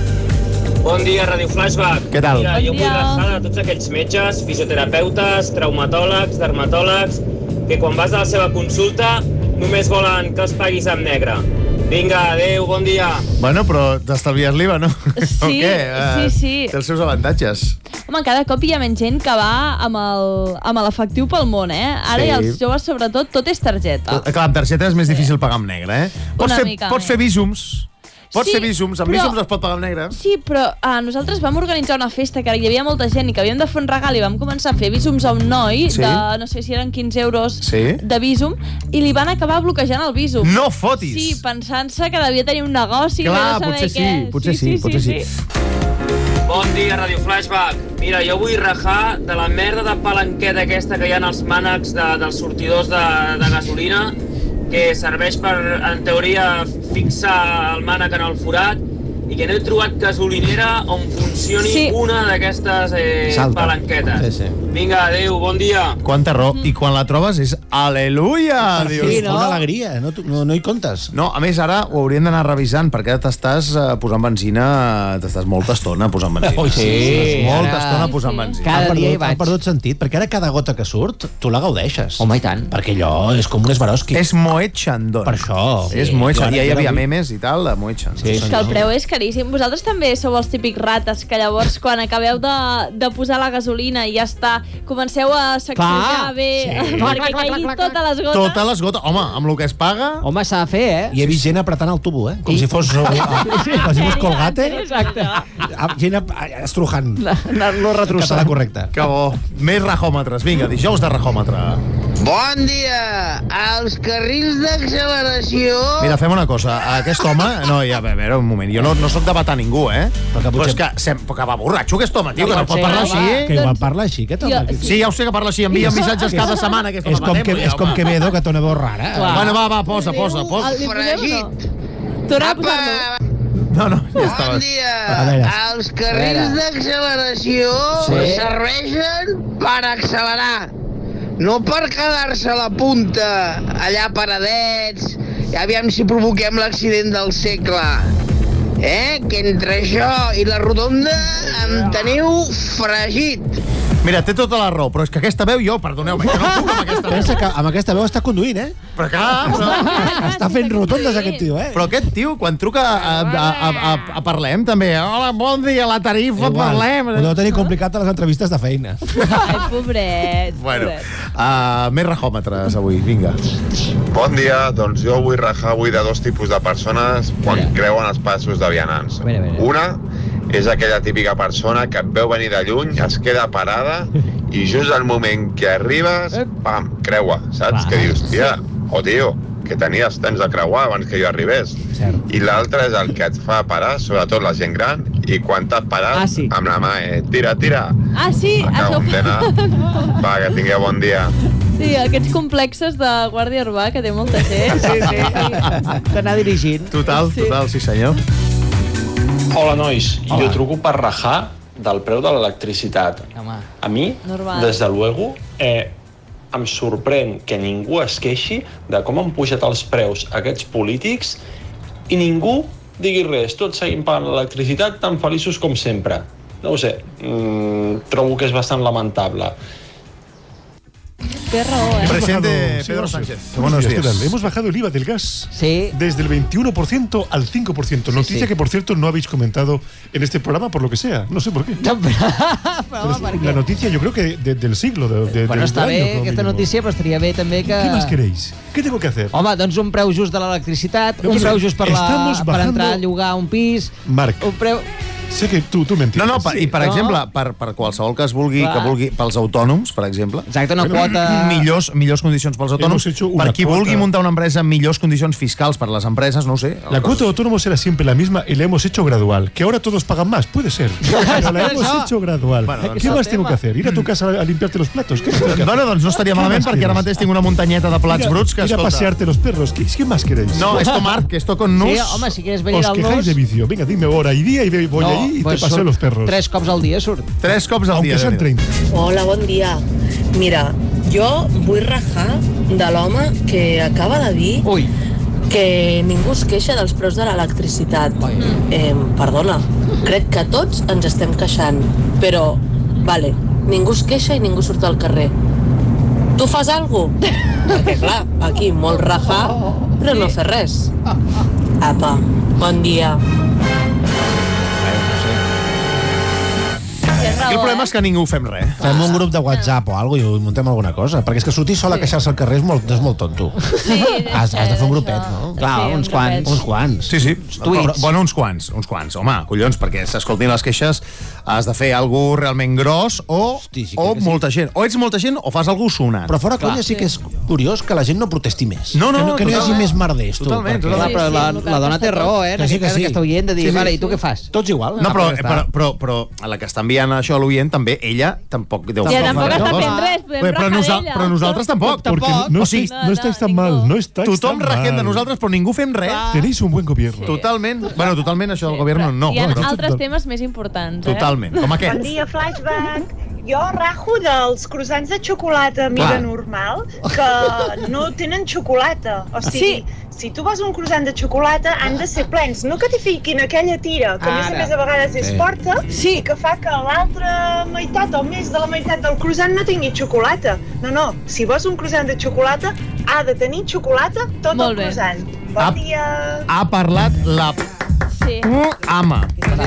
Bon dia, Radio Flashback. Què tal? Mira, Bon jo vull dia. abraçar a tots aquells metges, fisioterapeutes, traumatòlegs, dermatòlegs, que quan vas a la seva consulta només volen que els paguis en negre. Vinga, adeu, bon dia. Bueno, però t'estalvies l'IVA, no? Sí, o què? Eh, sí, sí. Té els seus avantatges. Home, cada cop hi ha menys gent que va amb el- amb l'efectiu pel món, eh? Ara Sí. sí. i els joves, sobretot, tot és targeta. Ah. Clar, amb targeta és més difícil pagar amb negre, eh? Pots Una fer, mica pots més. fer bízums. Pots Sí, fer bízums. Amb però- bízums es pot pagar amb negre. Sí, però ah, nosaltres vam organitzar una festa que hi havia molta gent i que havíem de fer un regal i vam començar a fer bísums a un noi Sí. de, no sé si eren 15 euros Sí. de bísum i li van acabar bloquejant el bísum. No fotis! Sí, pensant-se que devia tenir un negoci Clar, que no potser saber sí, què. potser sí, potser sí. Bon dia, Radio Flashback. Mira, jo vull rajar de la merda de palanqueta aquesta que hi ha als mànecs de, dels sortidors de, de gasolina, que serveix per, en teoria, fixar el mànec en el forat, i que no he trobat gasolinera on funcioni sí. una d'aquestes eh, Salta. palanquetes. Sí, sí. Vinga, adeu, bon dia. Quanta raó. Mm. I quan la trobes és aleluia! Per fi, dius. no? Una alegria, no, no, no hi comptes. No, a més, ara ho hauríem d'anar revisant, perquè ara t'estàs eh, posant benzina, t'estàs molta estona posant benzina. Oh, sí, Estàs molta ara- estona posant benzina. ha perdut, Ha perdut sentit, perquè ara cada gota que surt, tu la gaudeixes. Home, i tant. Perquè allò és com un esbaroski. És Moet Chandon. Per això. Sí. És Moet Chandon. Ja hi havia memes i tal, eh, de Moet Chandon. Sí, És que el preu és caríssim. Vosaltres també sou els típics rates que llavors quan acabeu de, de posar la gasolina i ja està, comenceu a sacsejar Clar. bé Sí. Clar, clar, perquè clar, caiguin clar, totes les gotes. Tota l'esgota. Home, amb el que es paga... Home, s'ha de fer, eh? I he vist gent apretant el tubo, eh? Com si fos... Com si fos colgate. Ah, Exacte. Gent ap- estrujant. Anar-lo retrossant. Català correcte. Que bo. Més rajòmetres. Vinga, dijous de rajòmetre. Bon dia! Els carrils d'acceleració... Mira, fem una cosa. Aquest home... No, ja, a veure, un moment. Jo no, no sóc de matar ningú, eh? Però, que, però és que, sem... però que va borratxo, aquest home, tio, que no pot parlar així. Que igual parla així, aquest home. Jo- Sí, ja ho sé que parla així, envia missatges cada setmana, aquest home, És com, que, matem-lo, és com home. Quevedo, que té una veu rara. Clar. Bueno, va, va, posa, posa, posa. El fregit. Tornar a posar-lo. No, no, ja estava. A veure. Els carrils d'acceleració Sí. serveixen per accelerar, no per quedar-se a la punta, allà paradets, i aviam si provoquem l'accident del segle. Eh? Que entre això i la rotonda em teniu fregit. Mira, té tota la raó, però és que aquesta veu jo, perdoneu-me, jo no puc amb aquesta veu. Pensa que amb aquesta veu està conduint, eh? Però clar, però... Està fent rotondes, aquest tio, eh? Però aquest tio, quan truca a, a, a, a, a Parlem, també... Hola, bon dia, la tarifa, Igual. Parlem... Ho deu tenir complicat a les entrevistes de feina. Ai, pobret. Bueno, pobret. uh, més rajòmetres avui, vinga. Bon dia, doncs jo vull rajar avui de dos tipus de persones quan creuen els passos de vianants. Una és aquella típica persona que et veu venir de lluny, es queda parada i just al moment que arribes, pam, creua, saps? Que dius, tia, o tio, que tenies temps de creuar abans que jo arribés. I l'altre és el que et fa parar, sobretot la gent gran, i quan t'has parat, ah, sí. amb la mà, eh, tira, tira, Ah, sí, això cago en dena. va, que tingueu bon dia. Sí, aquests complexes de guàrdia urbà que té molta gent. Sí, sí. T'anar dirigint. Total, total, sí senyor. Hola, nois. Hola. Jo truco per rajar del preu de l'electricitat. Home. A mi, Normal. des de luego, eh, em sorprèn que ningú es queixi de com han pujat els preus aquests polítics i ningú diguis res, tots seguim pagant l'electricitat tan feliços com sempre. No ho sé, mm, trobo que és bastant lamentable. Té raó, eh? Presente Pedro Sánchez. Buenos días. ¿qué tal? Hemos bajado el IVA del gas. Sí. Desde el 21% al 5%. Noticia que, por cierto, no habéis comentado en este programa, por lo que sea. No sé por qué. Pero es la noticia, yo creo que de- del siglo. De, de- Bueno, del està año, bé com a aquesta mínimo. notícia, però estaria bé també que... ¿Qué más queréis? ¿Qué tengo que hacer? Home, doncs un preu just de l'electricitat, No, un però preu just per, la, estamos per bajando- entrar a llogar un pis... Marc. Un preu... Sé que tu, tu m'entiendes. No, no, per, i per No. exemple, per, per qualsevol que es vulgui, Clar. que vulgui, pels autònoms, per exemple. Exacte, una quota- Millors, millors condicions pels autònoms. Hemos hecho una Per qui quota. vulgui muntar una empresa, millors condicions fiscals per les empreses, no ho sé. La cuota de autónomos era siempre la misma y la hemos hecho gradual. Que ahora todos pagan más, puede ser. Pero la hemos Eso. hecho gradual. Bueno, doncs- ¿Qué más tengo que hacer? ¿Ir a tu casa a limpiarte los platos? ¿Qué más tengo que hacer? Mm. Bueno, doncs no estaria ¿Qué malament más perquè ara quieres? mateix tinc una muntanyeta de plats Ir a- bruts que, Ir a escolta... pasearte los perros. ¿Qué, qué más queréis? No, esto, Marc, esto con nus. Sí, home, si quieres venir Os al quejáis nus- de vicio. Venga, dime hora y día y ve- voy allí y pues te paseo surt los perros. Tres cops al dia surt. Tres cops al Aunque dia, sean Daniel. 30. Hola, bon dia. Mira, jo vull rajar de l'home que acaba de dir Ui. que ningú es queixa dels preus de l'electricitat. Eh, perdona, crec que tots ens estem queixant, però, vale, ningú es queixa i ningú surt al carrer. Tu fas algo? Perquè, clar, aquí molt rajar, però no fer res. Apa, bon dia. Aquí el problema és que ningú fem res. Fem un grup de WhatsApp o alguna cosa i muntem alguna cosa. Perquè és que sortir sol a queixar-se al carrer és molt, és molt tonto. Sí, has, has de fer un grupet, no? Clar, Sí, un uns grupet. quants. Uns quants. Sí, sí. tuits. Però, Bueno, uns quants, uns quants. Home, collons, perquè s'escoltin les queixes has de fer algú realment gros o, Hosti, sí, o molta gent. O ets molta gent o fas algú sonant. Però fora conya sí que és curiós que la gent no protesti més. No, no, que no, que no hi hagi totalment. més marders, tu. Totalment, perquè- totalment. Però la, la dona té raó, eh? En Que sí, aquest que cas, sí. aquesta oient de dir, Sí, sí. vale, i tu què fas? Tots igual. No, però, Ah, ja però, però, però, a la que està enviant això a l'oient, també, ella tampoc deu... Ja, tampoc fer està res. fent res, podem Bé, però, rajar eh? nosa d'ella. però nosaltres tampoc. Porque no, estáis, no, estáis tan mal. No estáis Tothom tan rajem de mal. nosaltres, però ningú fem res. Tenéis un buen gobierno. Totalment. Bueno, totalment això del govern no. Hi ha però- altres temes més importants, eh? Totalment, com aquest. Doncs, Bon dia, Flashback. Jo rajo dels croissants de xocolata a mida Clar. normal que no tenen xocolata. O sigui, si tu vas a un croissant de xocolata han de ser plens, no que t'hi fiquin aquella tira que a més a Ara. més a vegades és Sí. forta sí. i que fa que l'altra meitat o més de la meitat del croissant no tingui xocolata. No, no, si vols un croissant de xocolata ha de tenir xocolata tot Molt Molt bé. el croissant. Bon Ap. dia! Ha parlat la Sí. ama. No, no,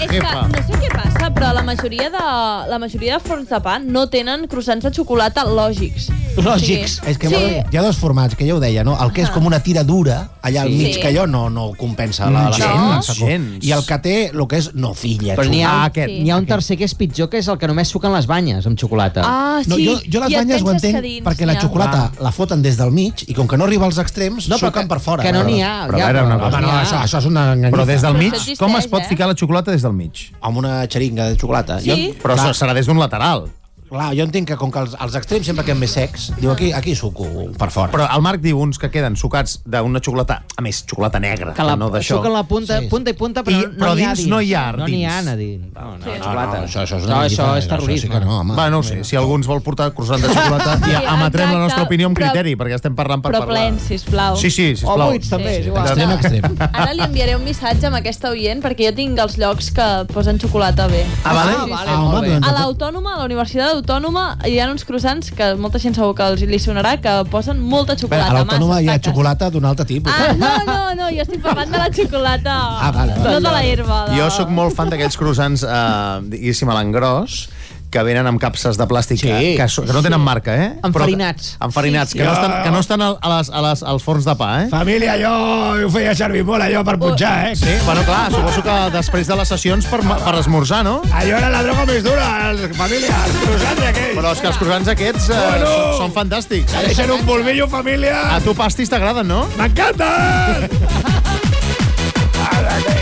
és que jefa. no sé què passa, però la majoria de, la majoria de forns de pa no tenen croissants de xocolata lògics. Lògics. O sigui, És que sí, hi ha dos formats, que ja ho deia, no? El que és com una tira dura, allà al Sí. mig, Sí. que allò no, no compensa la, la Gens, forma, sacó. gens. I el que té, el Eh, que és, no, filla, Però n'hi ha, xulo. ah, n'hi ha un tercer que és pitjor, que és el que només suquen les banyes amb xocolata. Ah, No, jo, jo les banyes ho entenc perquè la xocolata Ah. la foten des del mig i com que no arriba als extrems, No, no, però suquen que- per fora. que no n'hi ha, Però ja, a veure, una cosa. Home, no, n'hi ha. això, això és una enganyifa. Però des del Però mig, això existeix, com es pot eh? ficar la xocolata des del mig? Amb una xeringa de xocolata. Sí. Però això serà des d'un lateral. Clar, jo entenc que com que els, els extrems sempre queden més secs, diu aquí, aquí suco per fora. Però el Marc diu uns que queden sucats d'una xocolata, a més, xocolata negra, Que la, no d'això. suquen la punta, sí, punta i punta, però, I- no, però n'hi ha dins no hi ha, No n'hi ha, dins. a dir. No, no, Doncs no, xocolata. no, això- això és una no, mica això de- és això sí terrorisme. que no, home. Va, no ho sé, si algú ens vol portar croissant de xocolata, Sí, ja emetrem la nostra exacte, opinió amb però- criteri, perquè estem parlant per Però parlar. plens, sisplau. Sí, sí, sisplau. Extrem, extrem. Ara li enviaré un missatge amb aquesta oient perquè jo tinc els llocs que posen xocolata bé. Ah, vale? Sí, sí, sí. Ah, home, Molt bé. doncs- a l'Autònoma, a la Universitat Autònoma, hi ha uns croissants que molta gent segur que els li sonarà que posen molta Bé, xocolata. a l'autònoma massa. hi ha xocolata d'un altre tipus. Ah, no, no, no, jo estic parlant de la xocolata, Ah, vale, vale. no de la herba. De... Jo sóc molt fan d'aquells croissants, eh, diguéssim, a l'engròs, que venen amb capses de plàstic sí. que, so- que no tenen marca, eh? Enfarinats. Però, enfarinats, Sí, sí, sí. sí. que no estan, que no estan al- a les, a les, als forns de pa, eh? Ah. Família, jo ho feia servir molt, allò, Uh, per punxar, eh? Sí, bueno, clar, suposo que després de les sessions per, ma- per esmorzar, no? Allò Ah, era la droga més dura, els- família, els croissants aquells. Però és que els croissants aquests eh, Bueno. són, són fantàstics. Que deixen un polvillo, família. A tu pastis t'agraden, no? M'encanten!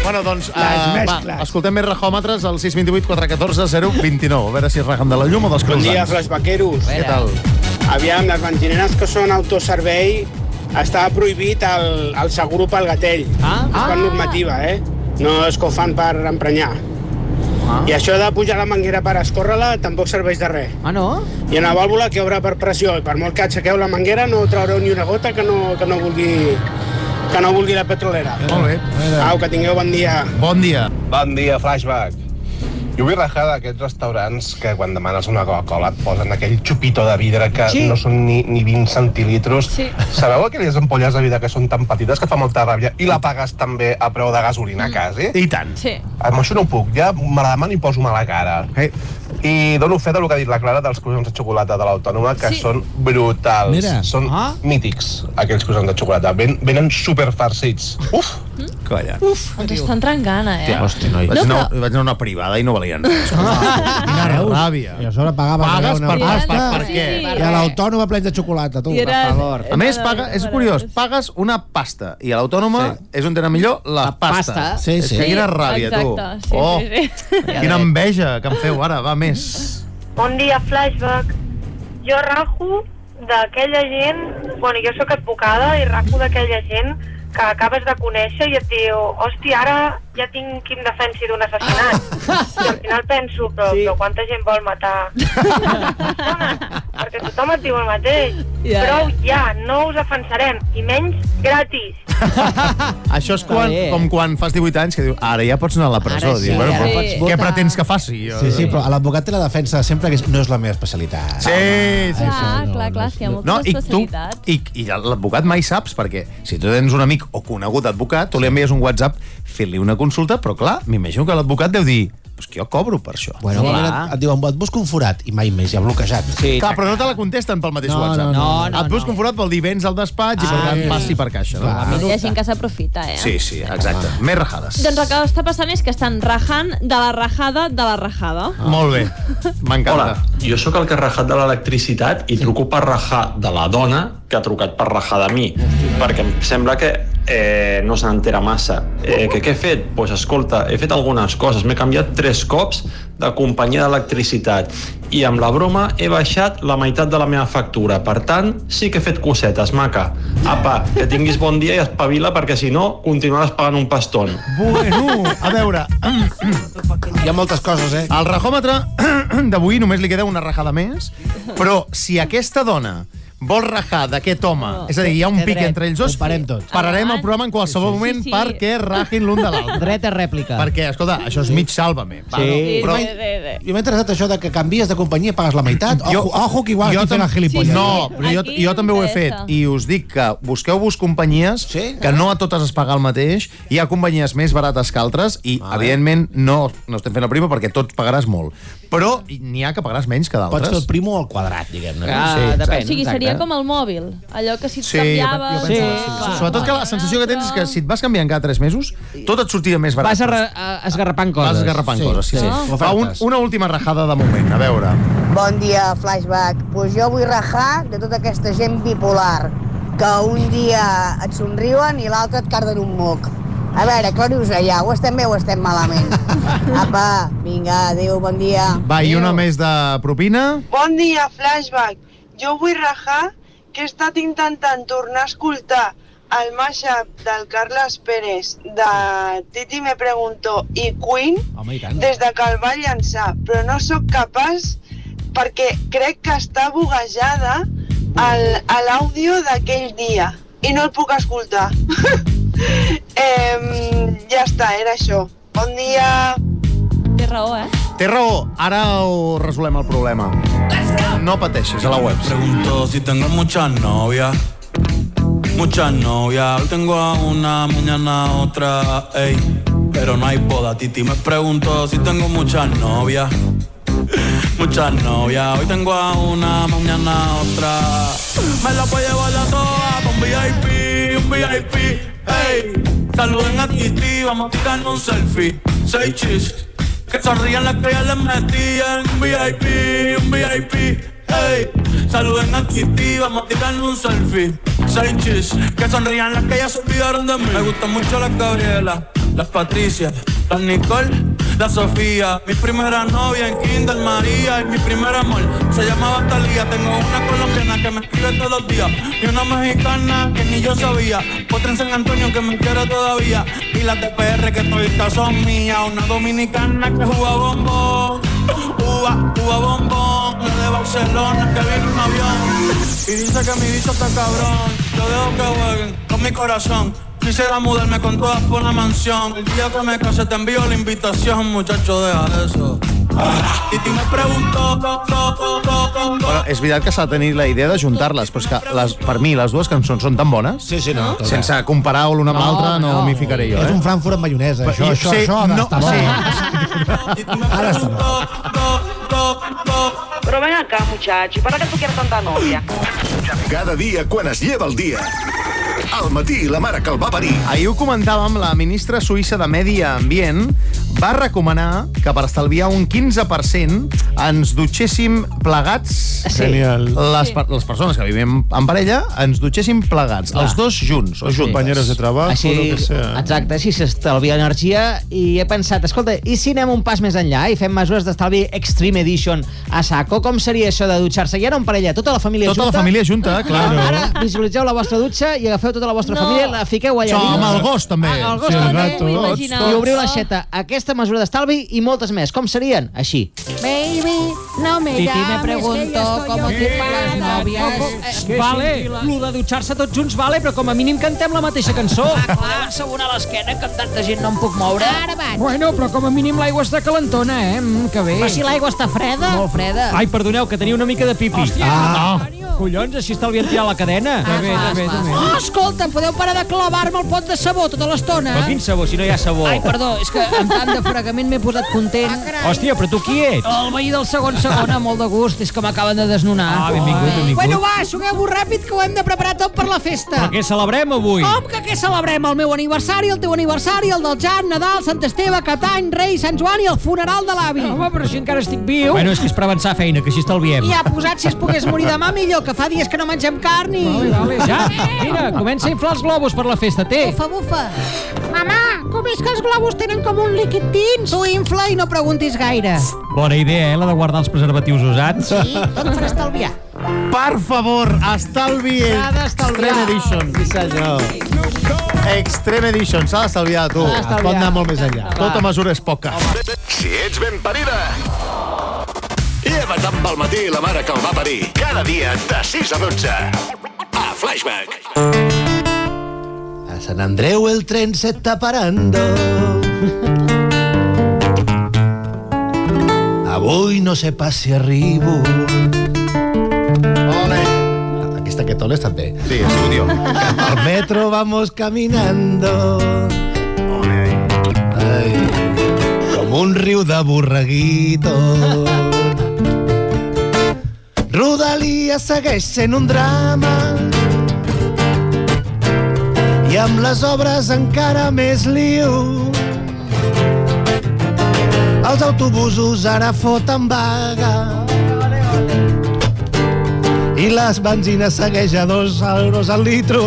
Bueno, doncs, eh, Les va, escoltem més rajòmetres al 628 414 029. A veure si es rajem de la llum o dels Bon dia, croissants. Flash Vaqueros. Què tal? Aviam, les benzineres que són autoservei estava prohibit el, el seguro pel gatell. Ah, és per normativa, eh? No és que ho fan per emprenyar. Ah. I això de pujar la manguera per escórrer-la tampoc serveix de res. Ah, no? Hi ha una vàlvula que obre per pressió i per molt que aixequeu la manguera no traureu ni una gota que no, que no vulgui que no vulgui la petrolera. Molt bé. Au, que tingueu bon dia. Bon dia. Bon dia, Flashback. Jo vull rajar d'aquests restaurants que quan demanes una Coca-Cola et posen aquell xupito de vidre que Sí. no són ni, ni 20 centilitros. Sí. Sabeu aquelles ampolles de vidre que són tan petites que fa molta ràbia i la pagues també a preu de gasolina, quasi? I tant. Mm. Sí. Amb això no puc, ja me la demano i poso mala cara. Hey. I dono fe del que ha dit la Clara dels croissants de xocolata de l'Autònoma, que Sí. sí. són brutals. Mira. Són ah. mítics, aquells croissants de xocolata. Ven, venen superfarcits. Uf! Mm. Colla. Uf, ens estan trencant, eh? Hòstia, hosti, noi. Vaig, No, anar, però- vaig anar a una privada i no valien res. Quina ràbia. I a sobre pagava Pagues una per- pasta per- per- per què? I a l'autònoma plens de xocolata, tu. I era- A més, paga, és curiós, pagues una pasta i a l'autònoma sí. és on tenen millor la, la pasta. pasta. Sí, És sí. que quina Sí, ràbia, exacte, tu. sí, oh, sí, sí. Quina enveja que em feu ara, va més. Bon dia, Flashback. Jo rajo d'aquella gent... Bueno, jo sóc advocada i rajo d'aquella gent que acabes de conèixer i et diu hòstia, ara ja tinc qui em defensi d'un assassinat. I al final penso, però, sí. però quanta gent vol matar? Perquè tothom et diu el mateix. Ja, Yeah. Prou ja, no us defensarem, i menys gratis. Això és quan, bé. com quan fas 18 anys que diu, ara ja pots anar a la presó. Ara sí, Diu, bueno, ara però sí. pots Votar. Què pretens que faci? Sí, sí, però a l'advocat té la defensa sempre que és, no és la meva especialitat. Sí, sí, sí. clar, clar, clar, és que hi ha moltes No, i tu, especialitats. i, i l'advocat mai saps, perquè si tu tens un amic o conegut advocat, tu li envies un WhatsApp, fent-li una consulta, però clar, m'imagino que l'advocat deu dir, pues que jo cobro per això. Bueno, sí. et, et diuen, et busco un forat i mai més, ja bloquejat. Sí, clar, però no te la contesten pel mateix No, no, WhatsApp. no, no, Ah, Et busca un forat vol dir vens al despatx i per tant passi per caixa. A més, No? hi ha gent que s'aprofita, eh? Sí, sí, exacte. Ah. Més rajades. Doncs el que està passant és que estan rajant de la rajada de la rajada. Ah. Molt bé, m'encanta. Hola, jo sóc el que ha rajat de l'electricitat i truco per rajar de la dona que ha trucat per rajar de mi, perquè em sembla que eh, no se n'entera massa. Eh, que què he fet? Doncs pues, escolta, he fet algunes coses. M'he canviat tres cops de companyia d'electricitat i amb la broma he baixat la meitat de la meva factura. Per tant, sí que he fet cosetes, maca. Apa, que tinguis bon dia i espavila perquè si no continuaràs pagant un paston. Bueno, a veure... Hi ha moltes coses, eh? Al rajòmetre d'avui només li queda una rajada més, però si aquesta dona vol rajar d'aquest home, és a dir, hi ha un té pic dret. entre ells dos, Ho parem tot. pararem el programa en qualsevol moment sí. perquè rajin l'un de l'altre. Dret a rèplica. Perquè, escolta, això és mig sàlvame. va, no? Però Jo m'he interessat això de que canvies de companyia i pagues la meitat. Ojo, ojo que igual estic fent tam- la gilipolles. No, però jo, jo també ho he fet. I us dic que busqueu-vos companyies sí? que no a totes es paga el mateix. Hi ha companyies més barates que altres i, vale. evidentment, no, no estem fent la prima perquè tots pagaràs molt. Però n'hi ha que pagaràs menys que d'altres. Pots fer el primo o el quadrat, diguem-ne. Ah, o sigui, seria com el mòbil, allò que si et Sí, canviaves... jo pensava, sí. clar. Sobretot que la sensació que tens és que si et vas canviant cada 3 mesos, tot et sortia més barat. Vas arra- a- esgarrapant coses. Vas esgarrapant Sí, coses, sí, sí. sí. Ah. No? Va, un, una última rajada de moment, a veure. Bon dia, Flashback. Pues jo vull rajar de tota aquesta gent bipolar, que un dia et somriuen i l'altre et carden un moc. A veure, aclariu-vos allà, ho estem bé o estem malament? Apa, vinga, adéu, bon dia. Va, i una més de propina. Bon dia, Flashback. Jo vull rajar que he estat intentant tornar a escoltar el mashup del Carles Pérez de Titi me preguntó i Queen Home, i tant. des de que el va llançar, però no sóc capaç perquè crec que està buguejada el- a l'àudio d'aquell dia i no el puc escoltar. eh, ja està, era això. Bon dia. Té raó, eh? Té raó, ara ho resolem el problema. No pateixis, a la web. Pregunto si tengo muchas novias. Muchas novias. Hoy tengo a una, mañana a otra. Ey, pero no hay boda. Titi me pregunto si tengo muchas novias. Muchas novias. Hoy tengo a una, mañana a otra. Me la voy a llevar a todas pa' un VIP, un VIP. Ey, saluden a Titi, vamos a tirar un selfie. Seis chis. Que sonrían las que ya les metían. Un VIP, un VIP. Ey, saluden a Kitty, vamos a tirarle un selfie. Seis chis, que sonrían las que ya se olvidaron de mí. Me gustan mucho las Gabriela, las Patricia, las Nicole, la Sofía. Mi primera novia en Kinder María y mi primer amor se llamaba Talía. Tengo una colombiana que me escribe todos los días y una mexicana que ni yo sabía. Otra en San Antonio que me quiere todavía y las de PR que todavía son mías. Una dominicana que juega bombón, uva, uva bombón. Una de Barcelona que vino en un avión y dice que mi bicho está cabrón. Yo dejo que jueguen con mi corazón. Quisiera mudarme con todas por una mansión. El día que me case te envío la invitación, muchacho, deja eso. Y tú me preguntó, to, to, to, to, to, Bueno, és veritat que s'ha de tenir la idea de juntar-les, però és que les, per mi les dues cançons són tan bones. Sí, sí, no. Sense comparar l'una amb l'altra no, no m'hi ficaré jo, És eh? un Frankfurt amb maionesa, Però això, jo- això, sí, això, ara no, està bo. Ara està bo. Pero ven acá, muchacho, ¿para qué tú quieres tanta novia? Cada dia quan es lleva el dia. Al matí, la mare que el va parir. Ahir ho comentàvem, la ministra suïssa de Medi Ambient va recomanar que per estalviar un 15% ens dutxéssim plegats Sí. Genial. les, per- les persones que vivim en parella ens dutxéssim plegats, Clar. els dos junts o Sí. juntes. així, Ah. Exacte, així s'estalvia energia i he pensat, escolta, i si anem un pas més enllà i fem mesures d'estalvi Extreme Edition a saco, com seria això de dutxar-se? Ja no en parella, tota la família Tota la junta? Ah, família junta, claro. Ara visualitzeu la vostra dutxa i agafeu tota la vostra No. família, la fiqueu allà Això, dins. amb el gos, també. Ah, el gos Sí, el també, gato, Vull tots, imaginar. tots. I obriu l'aixeta. Aquesta mesura d'estalvi i moltes més. Com serien? Així. Baby, no me Titi, me llames, pregunto cómo te pagas novias. eh, Vale, lo de dutxar-se tots junts, vale, però com a mínim cantem la mateixa cançó. clar, segona Ah, a l'esquena, que amb tanta gent no em puc Ara vaig. Bueno, però com a mínim l'aigua està calentona, eh? Mm, que bé. Però si l'aigua està freda. Molt freda. Ai, perdoneu, que teniu una mica de pipi. Hòstia, ah. Collons, així estalvien tirar la cadena. Ah, bé, bé, Oh, escolta, podeu parar de clavar-me el pot de sabó tota l'estona? Però quin sabó, si no hi ha sabó. Ai, perdó, és que amb tant de fregament m'he posat content. Hòstia, però tu qui ets? El veí del segon segon, amb molt de gust, és que m'acaben de desnonar. Ah, benvingut, benvingut. Bueno, va, aixugueu-vos ràpid, que ho hem de preparar tot per la festa. Però què celebrem avui? Com que què celebrem? El meu aniversari, el teu aniversari, el del Jan, Nadal, Sant Esteve, Catany, Rei, Sant Joan i el funeral de l'avi. Home, però si encara estic viu. Bueno, és que és per avançar feina, que així estalviem. I ha posat, si es pogués morir demà, millor, que fa dies que no mengem carn i... Vale, vale, Ja, mira, comença a inflar els globus per la festa, té. Bufa, bufa. Mamà, com és que els globus tenen com un líquid dins? Tu infla i no preguntis gaire. Bona idea, eh, la de guardar els preservatius usats. Sí, tot per estalviar. Per favor, estalvi S'ha d'estalviar. Extreme Edition. Sí, senyor. Extreme Edition, s'ha d'estalviar, tu. S'ha d'estalviar. Pot anar molt més enllà. Tota mesura és poca. Si ets ben parida, lleva't amb el matí la mare que el va parir. Cada dia de 6 a 12. A Flashback. A San Andreu el tren se está parando. Avui no se pase arribo. Ole! Aquesta que t'oles també. Sí, estudio. Al metro vamos caminando. Ai. Com un riu de borreguitos. Rodalia segueix sent un drama i amb les obres encara més liu. Els autobusos ara foten vaga i les benzines segueix a dos euros al litro.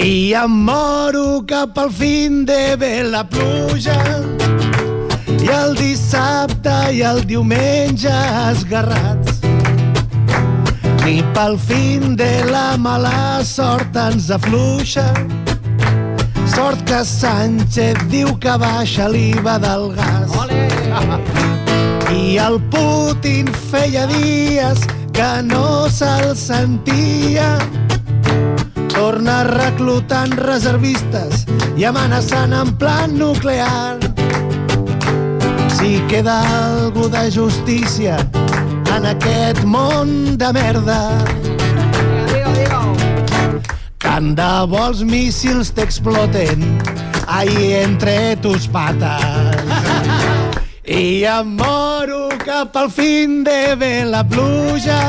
I em moro cap al fin de ve la pluja i el dissabte i el diumenge esgarrats. Ni pel fin de la mala sort ens afluixa. Sort que Sánchez diu que baixa l'IVA del gas. Ole! I el Putin feia dies que no se'l sentia. Torna reclutant reservistes i amenaçant en plan nuclear. Si queda algú de justícia en aquest món de merda. Tant de bo els míssils t'exploten ahir entre tus pates. I em moro cap al fin de ve la pluja.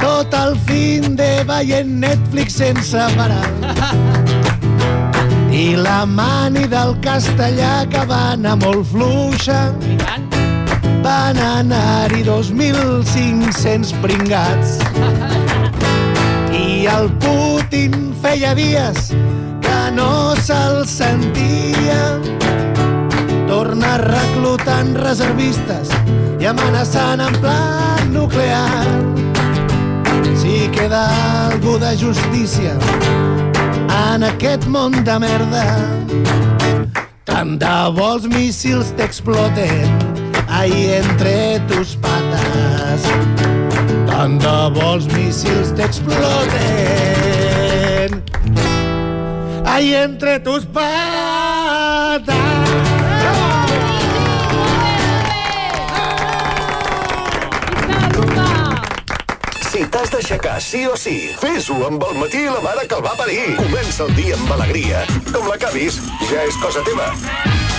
Tot el fin de veient Netflix sense parar. I la mani del castellà que va anar molt fluixa. Van anar-hi 2.500 pringats. I el Putin feia dies que no se'l sentia. Torna reclutant reservistes i amenaçant en plan nuclear. Si queda algú de justícia en aquest món de merda, tant de bo els míssils t'exploten ahir entre tus pates. Tant de bo els míssils t'exploten bien ahí entre tus patas. Si t'has d'aixecar sí o sí, fes-ho amb el matí i la mare que el va parir. Comença el dia amb alegria. Com l'acabis, ja és cosa teva.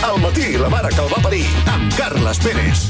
El matí i la mare que el va parir, amb Carles Pérez.